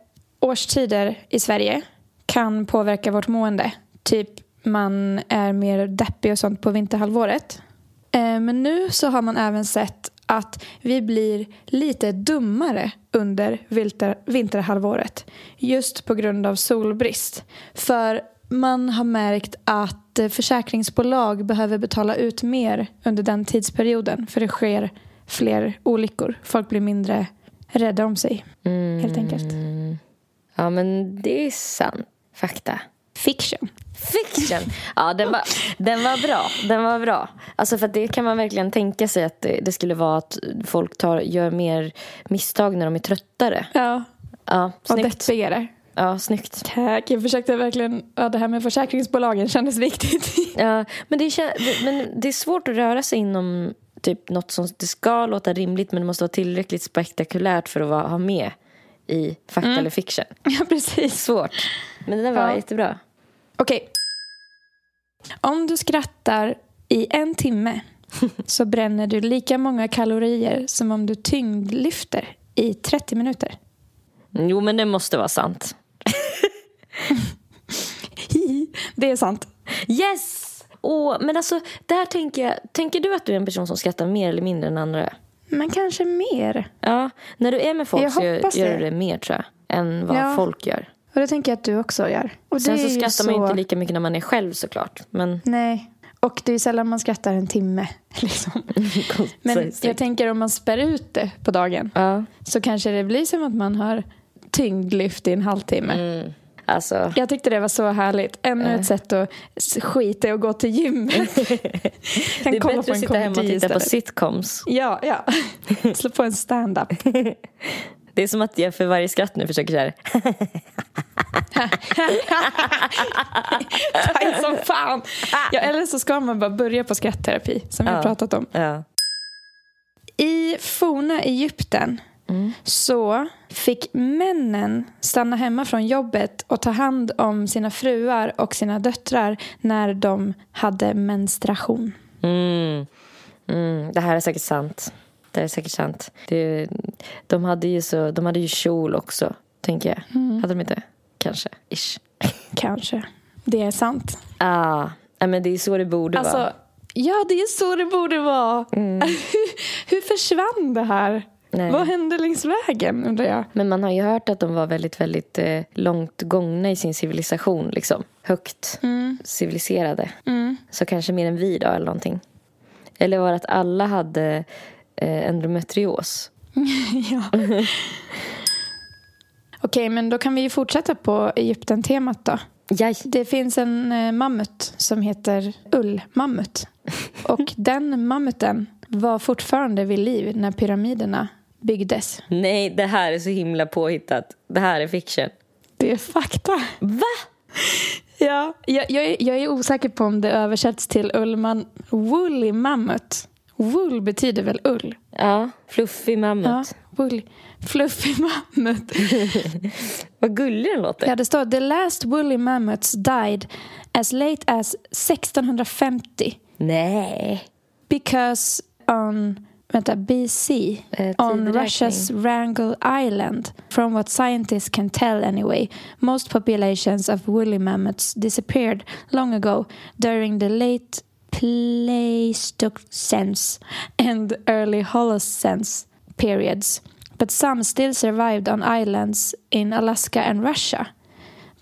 C: årstider i Sverige kan påverka vårt mående. Typ man är mer deppig och sånt på vinterhalvåret. Eh, men nu så har man även sett att vi blir lite dummare under vinter, vinterhalvåret. Just på grund av solbrist. För man har märkt att eh, försäkringsbolag behöver betala ut mer under den tidsperioden. För det sker fler olyckor. Folk blir mindre rädda om sig,
B: Mm.
C: helt enkelt.
B: Ja, men det är sant. Fakta.
C: Fiction.
B: Fiction! Ja, den var, den var bra. Den var bra. Alltså för att det kan man verkligen tänka sig att det, det skulle vara att folk tar, gör mer misstag när de är tröttare.
C: Ja,
B: Ja,
C: och
B: snyggt.
C: deppigare.
B: Ja, snyggt.
C: Tack, jag försökte verkligen... Ja, det här med försäkringsbolagen kändes viktigt.
B: Ja, men, det kän- men det är svårt att röra sig inom typ något som det ska låta rimligt men det måste vara tillräckligt spektakulärt för att vara, ha med i fakta eller fiction.
C: <laughs> ja, precis.
B: Svårt. Men den var
C: Ja.
B: jättebra.
C: Okej. Om du skrattar i en <laughs> timme så bränner du lika många kalorier som om du tyngdlyfter i 30 minuter.
B: Jo, men det måste vara sant.
C: Hihi, <laughs> det är sant.
B: Yes! Åh, men alltså, där tänker jag... Tänker du att du är en person som skrattar mer eller mindre än andra?
C: Men kanske mer.
B: Ja, när du är med folk
C: Jag
B: så gör,
C: hoppas det.
B: gör du det mer tror jag. Än vad
C: Ja.
B: folk gör.
C: Och det tänker jag att du också gör. Och
B: Sen
C: det
B: så
C: är ju
B: skrattar man ju
C: så- <laughs>
B: inte lika mycket när man är själv såklart. Men
C: Nej. Och det är sällan man skrattar en timme. <laughs> Liksom. Men jag tänker om man spär ut det på dagen
B: Ja.
C: så kanske det blir som att man har tyngdlyft i en halvtimme.
B: Mm. Eh. Alltså,
C: Jag tyckte det var så härligt. Ännu ett sätt att s- skita i att gå
B: <laughs>
C: till gymmet. kan
B: det är
C: kolla
B: bättre
C: på
B: att
C: en
B: sitta hemma och
C: komedi
B: titta på
C: istället.
B: sitcoms.
C: Ja, ja. <laughs> Slå på
B: <laughs>
C: en stand-up.
B: Det är som att jag för varje skratt nu försöker så här.
C: Tajt som fan. Ja, eller så ska man bara börja på skrattterapi som vi har
B: Ja.
C: pratat om.
B: Ja.
C: I forna Egypten så fick männen stanna hemma från jobbet och ta hand om sina fruar och sina döttrar när de hade menstruation.
B: Mm. Mm. Det här är säkert sant. Det här är säkert sant. Det, de, hade ju så, de hade ju kjol också, tänker jag.
C: Mm.
B: Hade de inte? Kanske. Ish.
C: Kanske. Det är sant.
B: Ah. Ja, men det är så det borde
C: Alltså,
B: vara.
C: ja, det är så det borde vara. <laughs> Hur försvann det här?
B: Nej.
C: Vad hände längs vägen, undrar jag?
B: Men man har ju hört att de var väldigt, väldigt eh, långt gångna i sin civilisation. Liksom. Högt
C: Mm,
B: civiliserade. Så kanske mer än vi då, eller någonting. Eller var det att alla hade eh, endometrios?
C: ja. Okej, men då kan vi ju fortsätta på Egypten-temat då.
B: Jaj.
C: Det finns en eh, mammut som heter <laughs> ullmammut. Och den mammuten var fortfarande vid liv när pyramiderna byggdes.
B: Nej, det här är så himla påhittat. Det här är fiction.
C: Det är fakta.
B: Va?
C: Ja, jag, jag, är, jag är osäker på om det översätts till ullman, woolly mammut. Wool betyder väl ull?
B: Ja, fluffig mammut.
C: Ja, wool. Fluffig <laughs> mammut.
B: Vad gullig den låter.
C: Ja, det står The last woolly mammoths died as late as 1650
B: Nej.
C: because on vänta, BC
B: Eh,
C: on
B: tideräkning.
C: Russia's Wrangel Island from what scientists can tell anyway most populations of woolly mammoths disappeared long ago during the late Pleistocene and early Holocene periods but some still survived on islands in Alaska and Russia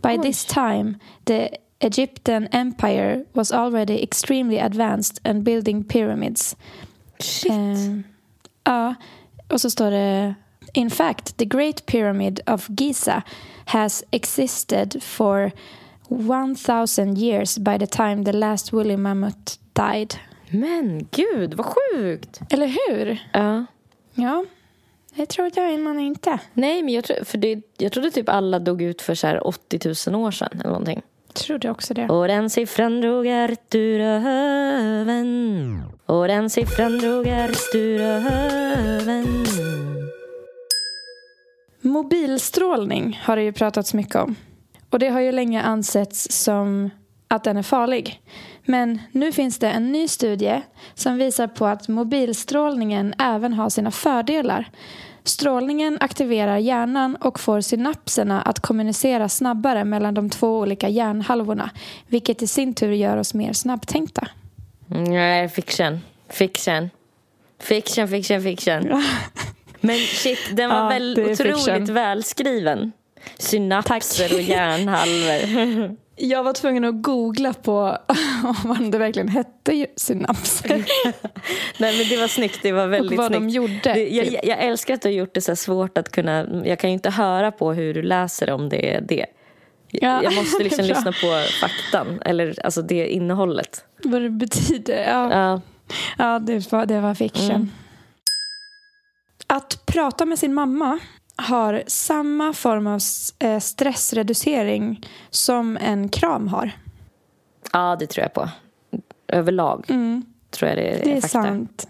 C: by this time, the Egyptian empire was already extremely advanced and building pyramids.
B: Shit.
C: Eh, ja, och så står det In fact, the Great Pyramid of Giza has existed for 1000 years by the time the last woolly mammoth died.
B: Men gud, vad sjukt.
C: Eller hur?
B: Ja.
C: Ja, det trodde jag innan inte.
B: Nej, men jag, tro, för det, jag trodde typ alla dog ut för så här 80 000 år sedan eller någonting.
C: Trodde också det.
B: Och den siffran drog jag rätt ur röven. Och den siffran drog jag rätt ur röven.
C: Mobilstrålning har det ju pratats mycket om. Och det har ju länge ansetts som att den är farlig. Men nu finns det en ny studie som visar på att mobilstrålningen även har sina fördelar. Strålningen aktiverar hjärnan och får synapserna att kommunicera snabbare mellan de två olika hjärnhalvorna, vilket i sin tur gör oss mer snabbtänkta.
B: Nej, fiction. Fiction. Fiction, fiction, fiction. Men shit, den var
C: Ja,
B: väl
C: det är
B: otroligt
C: fiction.
B: välskriven. Synapser och
C: <laughs>
B: hjärnhalvor.
C: Jag var tvungen att googla på <laughs> om det verkligen hette synapser
B: Nej, men det var snyggt. Det var
C: och
B: väldigt
C: vad de
B: snyggt.
C: gjorde. typ.
B: Det, jag, jag- jag älskar att du har gjort det så här svårt att kunna... Jag kan ju inte höra på hur du läser om det. är det.
C: Ja,
B: jag
C: det
B: måste
C: <laughs> är
B: liksom
C: bra.
B: lyssna på faktan, eller alltså det innehållet.
C: Vad det betyder? Ja,
B: Ja,
C: ja det, var, det var fiction. Att prata med sin mamma har samma form av s- eh, stressreducering som en kram har.
B: ja det tror jag på. Överlag
C: Mm,
B: tror jag det är,
C: det är
B: fakta.
C: sant.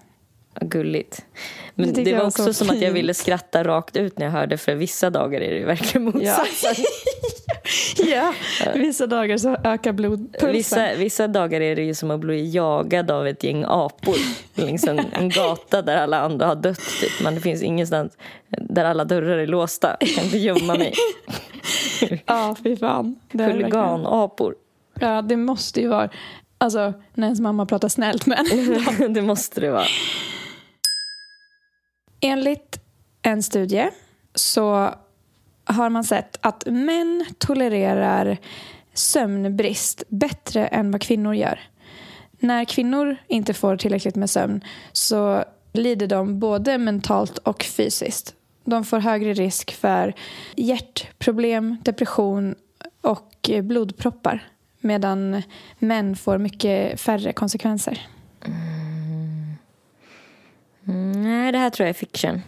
B: Gulligt.
C: Det
B: Men det,
C: tycker jag
B: var
C: var
B: också
C: så
B: som att jag
C: fint.
B: ville skratta rakt ut när jag hörde för vissa dagar är det ju verkligen motsatsen. <laughs>
C: ja, vissa dagar så ökar blodpulsen.
B: Vissa, vissa dagar är det ju som att bli jagad av ett gäng <laughs> apor längs en, en gata där alla andra har dött. Typ. Men det finns ingenstans där alla dörrar är låsta. Jag kan inte gömma <laughs> mig.
C: Ja, fy fan. Det är verkligen-
B: Huliganapor. <laughs>
C: Ja, det måste ju vara... Alltså, när ens mamma pratar snällt med en.
B: det måste det vara.
C: Enligt en studie så har man sett att män tolererar sömnbrist bättre än vad kvinnor gör. När kvinnor inte får tillräckligt med sömn så lider de både mentalt och fysiskt. De får högre risk för hjärtproblem, depression och eh, blodproppar medan män får mycket färre konsekvenser.
B: Mm, Nej, det här tror jag är fiction.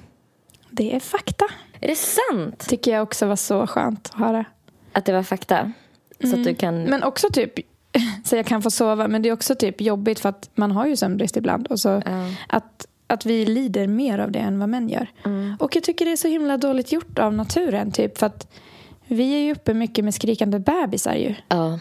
C: Det är fakta.
B: Är det sant
C: Tycker jag också var så skönt att höra. Mm.
B: att det var fakta? Så att du kan...
C: Men också typ, <laughs> så jag kan få sova, men det är också typ jobbigt för att man har ju sömnbrist ibland. Och så
B: Ja.
C: att, att vi lider mer av det än vad män gör. Och jag tycker det är så himla dåligt gjort av naturen typ. För att vi är ju uppe mycket med skrikande bebisar ju.
B: ja.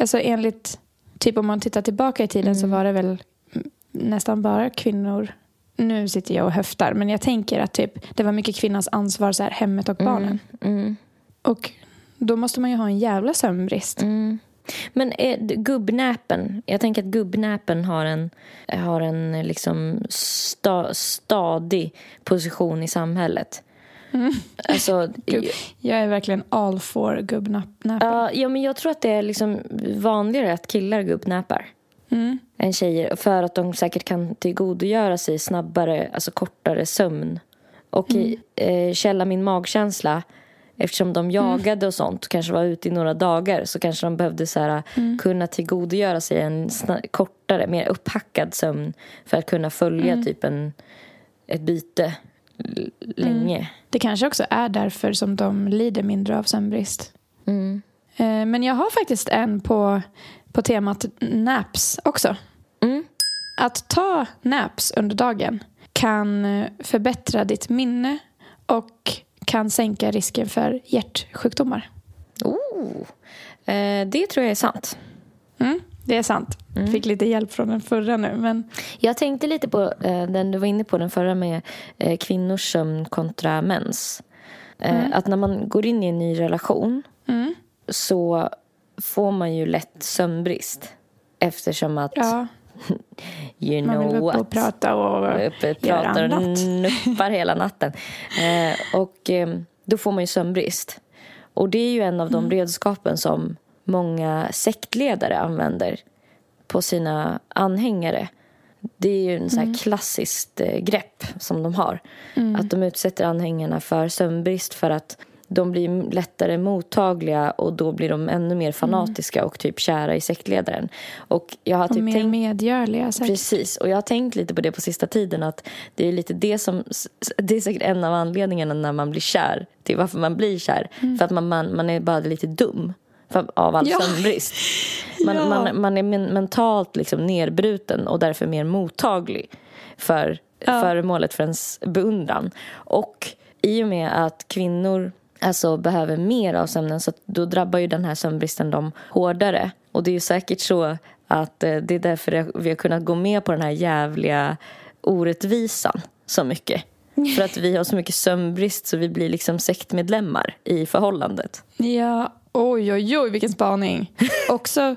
C: Alltså enligt, typ om man tittar tillbaka i tiden så var det väl mm, nästan bara kvinnor. Nu sitter jag och höftar, men jag tänker att typ, det var mycket kvinnans ansvar, så här, hemmet och barnen.
B: Mm.
C: Och då måste man ju ha en jävla sömnbrist.
B: Mm. Men är, d- gubbnäpen, jag tänker att gubbnäpen har en, har en eh, liksom sta, stadig position i samhället. Alltså,
C: Gubb. Jag är verkligen all for gubbnäppen.
B: ja, ja, men jag tror att det är liksom vanligare att killar gubbnäpar
C: Mm.
B: än tjejer för att de säkert kan tillgodogöra sig snabbare, alltså kortare sömn. Och i, eh, källa min magkänsla, eftersom de jagade och sånt och kanske var ute i några dagar så kanske de behövde så här, kunna tillgodogöra sig en sna- kortare, mer upphackad sömn för att kunna följa typ en, ett byte l- länge.
C: Det kanske också är därför som de lider mindre av sömnbrist.
B: Mm.
C: Eh, Men jag har faktiskt en på, på temat naps också.
B: Mm.
C: Att ta naps under dagen kan eh, förbättra ditt minne och kan sänka risken för hjärtsjukdomar.
B: Oh. Eh, det tror jag är sant.
C: Mm, det är sant.
B: Mm.
C: Fick lite hjälp från den förra nu. Men
B: Jag tänkte lite på eh, den du var inne på, den förra med eh, kvinnors sömn kontra mäns. Eh, Att när man går in i en ny relation
C: Mm.
B: så får man ju lätt sömnbrist. Eftersom att,
C: ja,
B: you
C: man vill
B: know
C: vara uppe
B: what,
C: och prata och
B: uppe och
C: göra
B: pratar och
C: annat.
B: nuppar hela natten. Eh, och eh, då får man ju sömnbrist. Och det är ju en av de
C: Mm.
B: redskapen som många sektledare använder på sina anhängare. Det är ju en så
C: Mm.
B: här klassiskt eh, grepp som de har. Att de utsätter anhängarna för sömnbrist för att de blir lättare mottagliga och då blir de ännu
C: Mm.
B: mer fanatiska och typ kära i sektledaren. Och jag har
C: och
B: typ
C: mer
B: tänkt
C: medgörliga. säkert.
B: Precis, och jag har tänkt lite på det på sista tiden att det är lite det som, det är säkert en av anledningarna när man blir kär till varför man blir kär. För att man, man, man är bara lite dum för, av all
C: Ja. <laughs>
B: sömnbrist. Man,
C: Ja.
B: man, man är men, mentalt liksom nerbruten och därför mer mottaglig för föremålet för ens beundran. Och i och med att kvinnor alltså, behöver mer av sömnen så att då drabbar ju den här sömnbristen dem hårdare. Och det är ju säkert så att eh, det är därför jag- vi har kunnat gå med på den här jävliga orättvisan så
C: <laughs>
B: mycket. För att vi har så mycket sömnbrist så vi blir liksom sektmedlemmar i förhållandet.
C: Ja, oj oj oj vilken spaning. Också,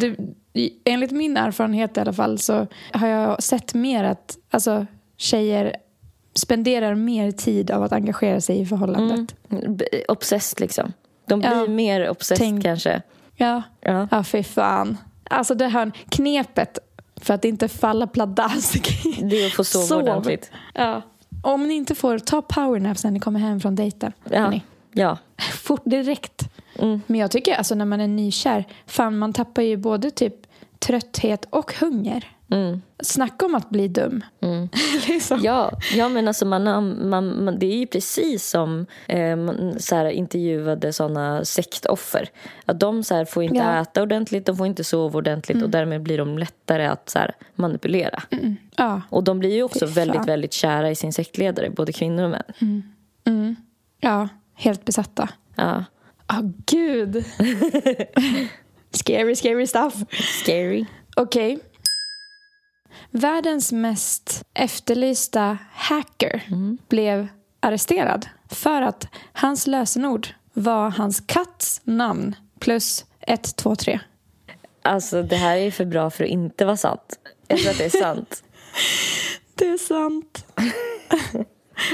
C: du, i- enligt min erfarenhet i alla fall så har jag sett mer att alltså, tjejer spenderar mer tid av att engagera sig i förhållandet.
B: B- Obsessed liksom. De blir
C: Ja.
B: mer obsessed
C: Tänk-
B: kanske.
C: Ja.
B: Ja.
C: ja, fy fan. Alltså det här knepet för att inte falla pladask.
B: Det är att få
C: <laughs>
B: sova
C: Sov.
B: ordentligt.
C: ja. Om ni inte får, ta powernaps när ni kommer hem från dejten.
B: Ja.
C: hörni.
B: ja.
C: Fort, direkt.
B: Mm.
C: Men jag tycker alltså när man är nykär, fan man tappar ju både typ trötthet och hunger.
B: Mm.
C: Snacka om att bli dum. <laughs> liksom.
B: Ja, ja men alltså man, har- man, man, det är ju precis som eh, man, så här, intervjuade såna sektoffer. Att de så här, får inte
C: Ja.
B: äta ordentligt, de får inte sova ordentligt och därmed blir de lättare att så här, manipulera.
C: Mm. Ja.
B: Och de blir ju också
C: Fy fan.
B: väldigt, väldigt kära i sin sektledare, både kvinnor och män.
C: Mm. ja, helt besatta.
B: Ja.
C: Åh gud. <laughs> scary, scary stuff.
B: Scary.
C: Okej. Världens mest efterlysta hacker
B: Mm.
C: blev arresterad för att hans lösenord var hans katts namn plus 123.
B: Alltså det här är för bra för att inte vara sant. Jag tror att det är sant.
C: Det är sant.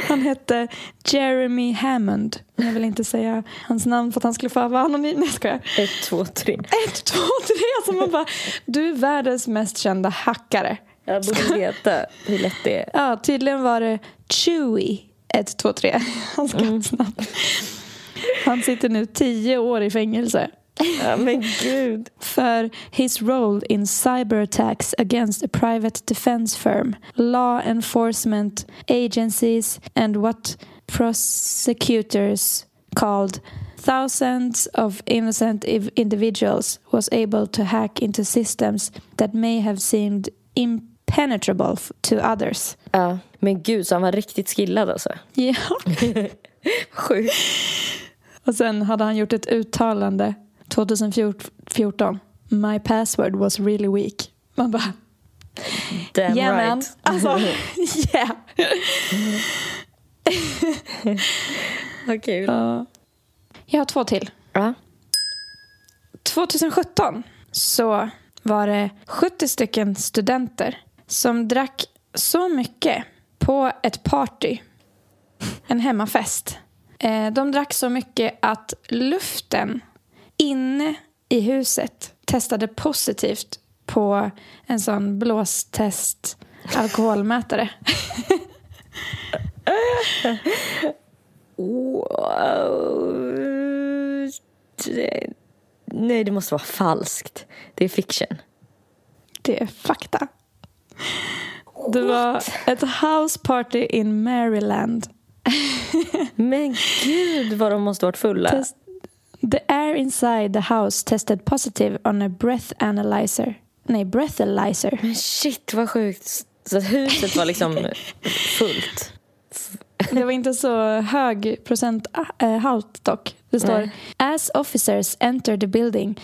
C: Han hette Jeremy Hammond. Jag vill inte säga hans namn för att han skulle få vara anonym. Nej, jag skojar.
B: <laughs> Ett, två, tre.
C: Ett, två, tre. Alltså man bara, du är världens mest kända hackare.
B: Jag borde veta hur lätt det är.
C: Ja, tydligen var det Chewy 123, <laughs> hans kattsnamn. Han sitter nu tio år i fängelse
B: Ja, men gud.
C: för his role in cyber attacks against a private defense firm, law enforcement agencies and what prosecutors called thousands of innocent iv- individuals was able to hack into systems that may have seemed impenetrable f- to others.
B: Ja. Men gud, så han var riktigt skillad alltså.
C: Ja.
B: Sjukt.
C: Och sen hade han gjort ett uttalande 2014. My password was really weak. Man bara,
B: <laughs>
C: <laughs>
B: Damn
C: yeah man.
B: <laughs> right.
C: Alltså, yeah.
B: Vad kul.
C: Ja. Jag har två till.
B: Ja.
C: 2017 så var det 70 stycken studenter som drack så mycket på ett party, en hemmafest. Eh, De drack så mycket att luften inne i huset testade positivt på en sån blåstest alkoholmätare.
B: Wow. Det- Nej, det måste vara falskt. Det är fiction.
C: Det är fakta. Det var ett house party in Maryland.
B: Men gud vad de måste varit fulla.
C: Test- the air inside the house tested positive on a breath analyzer. Nej, breathalyzer.
B: Men shit vad sjukt. Så att huset var <laughs> liksom fullt.
C: <laughs> Det var inte så hög procenthalt dock. Det står
B: Nej.
C: As officers enter the building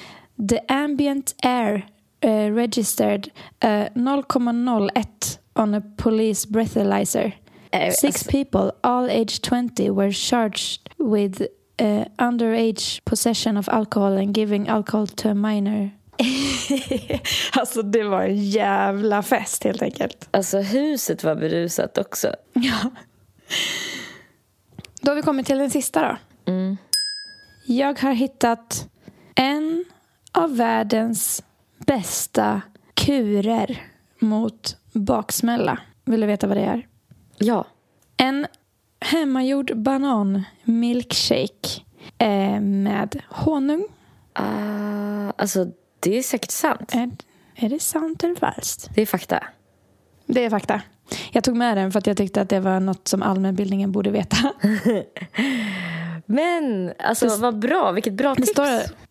C: the ambient air eh, registered eh, 0,01 on a police breathalyzer.
B: Eh,
C: Six people, all aged 20, were charged with uh, underage possession of alcohol and giving alcohol to a minor. <laughs> alltså det var en jävla fest helt enkelt.
B: Alltså huset var berusat också.
C: Ja. Då har vi kommit till den sista då.
B: Mm.
C: Jag har hittat en av världens bästa kurer mot baksmälla. Vill du veta vad det är?
B: Ja.
C: En hemmagjord banan-milkshake eh, med honung.
B: Ah, alltså det är säkert sant.
C: Är, är det sant eller falskt?
B: Det är fakta.
C: Det är fakta. Jag tog med den för att jag tyckte att det var något som allmänbildningen borde <laughs> veta.
B: Men alltså vad bra, vilket bra
C: Det
B: tips.
C: står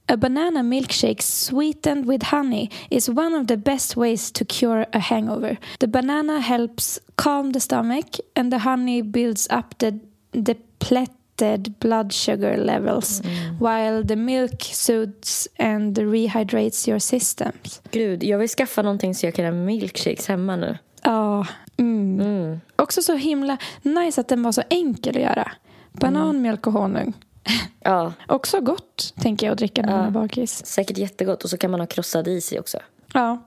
C: A banana milkshake sweetened with honey is one of the best ways to cure a hangover. The banana helps calm the stomach and the honey builds up the depleted blood sugar levels
B: Mm.
C: while the milk soothes and rehydrates your systems.
B: Gud, jag vill skaffa någonting så jag kan ha milkshakes hemma nu.
C: Ja. Mm.
B: Mm.
C: Också så himla nice att den var så enkel att göra. Banan, mjölk och honung.
B: Ja,
C: Också gott, tänker jag, att dricka när man är bakis.
B: säkert jättegott. Och så kan man ha krossad is i också.
C: Ja.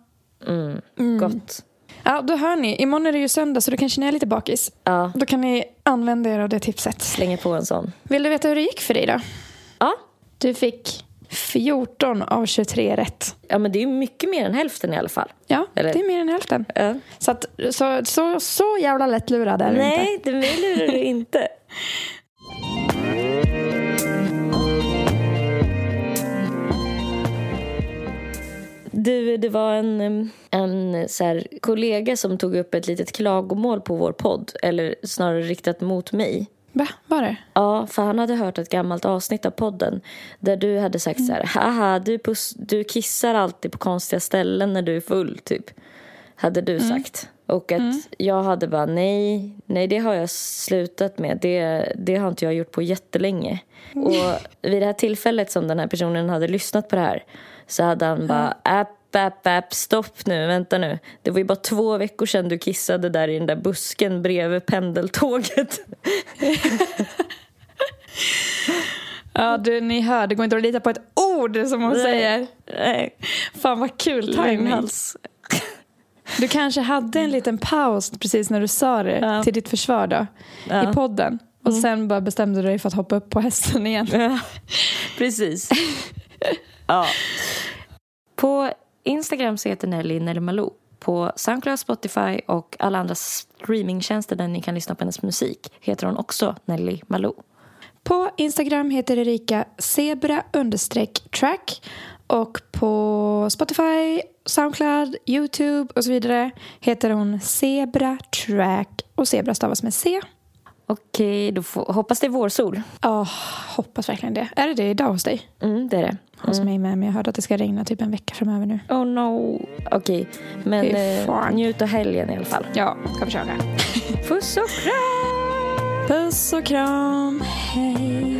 B: Mm. Gott.
C: Ja, då hör ni. Imorgon är det ju söndag så då kanske ni är lite bakis.
B: Ja,
C: Då kan ni använda er av det tipset.
B: slänga på en sån.
C: Vill du veta hur det gick för dig då?
B: Ja,
C: Du fick 14 av 23 rätt.
B: ja men det är mycket mer än hälften i alla fall.
C: Ja,
B: Eller-
C: det är mer än hälften.
B: Ja.
C: Så, att, så, så, så jävla lätt lurad är du inte.
B: Nej, det mig lurar du inte. Du, det var en, em, en så här, kollega som tog upp ett litet klagomål på vår podd. Eller snarare riktat mot mig.
C: Va, var det?
B: Ja, för han hade hört ett gammalt avsnitt av podden där du hade sagt så här, haha, du, puss, du kissar alltid på konstiga ställen när du är full, typ. Hade du sagt. Och att jag hade bara, nej, nej, det har jag slutat med. Det, det har inte jag gjort på jättelänge. Och vid det här tillfället som den här personen hade lyssnat på det här så hade han bara, app, app, app, stopp nu, vänta nu. Det var ju bara två veckor sedan du kissade där i den där busken bredvid pendeltåget.
C: Ja, du, ni hör. Det går inte att lita på ett ord som hon
B: Nej.
C: säger. Fan vad kul timing.
B: Lögnhals.
C: Du kanske hade en liten paus precis när du sa det
B: Ja.
C: till ditt försvar då,
B: <laughs> Ja. Mm.
C: i podden. Och sen bara bestämde du dig för att hoppa upp på hästen igen.
B: <laughs> Precis. ja. På Instagram så heter Nelly Nelmalou. På Soundcloud, Spotify och alla andra streamingtjänster där ni kan lyssna på hennes musik heter hon också Nelly Malou.
C: På Instagram heter Erika zebra understreck track och på Spotify, Soundcloud, Youtube och så vidare heter hon zebra track och zebra stavas med C.
B: Okej, då får, hoppas det är vårsol.
C: Ja, hoppas verkligen det. Är det det idag hos dig?
B: Mm, det är det.
C: Hos mig med, men jag hörde att det ska regna typ en vecka framöver nu.
B: Oh no. Okej, men
C: Fy
B: eh,
C: fan.
B: njut av helgen i alla fall.
C: Ja, ska försöka.
B: Puss och kram!
C: Puss och kram, hej.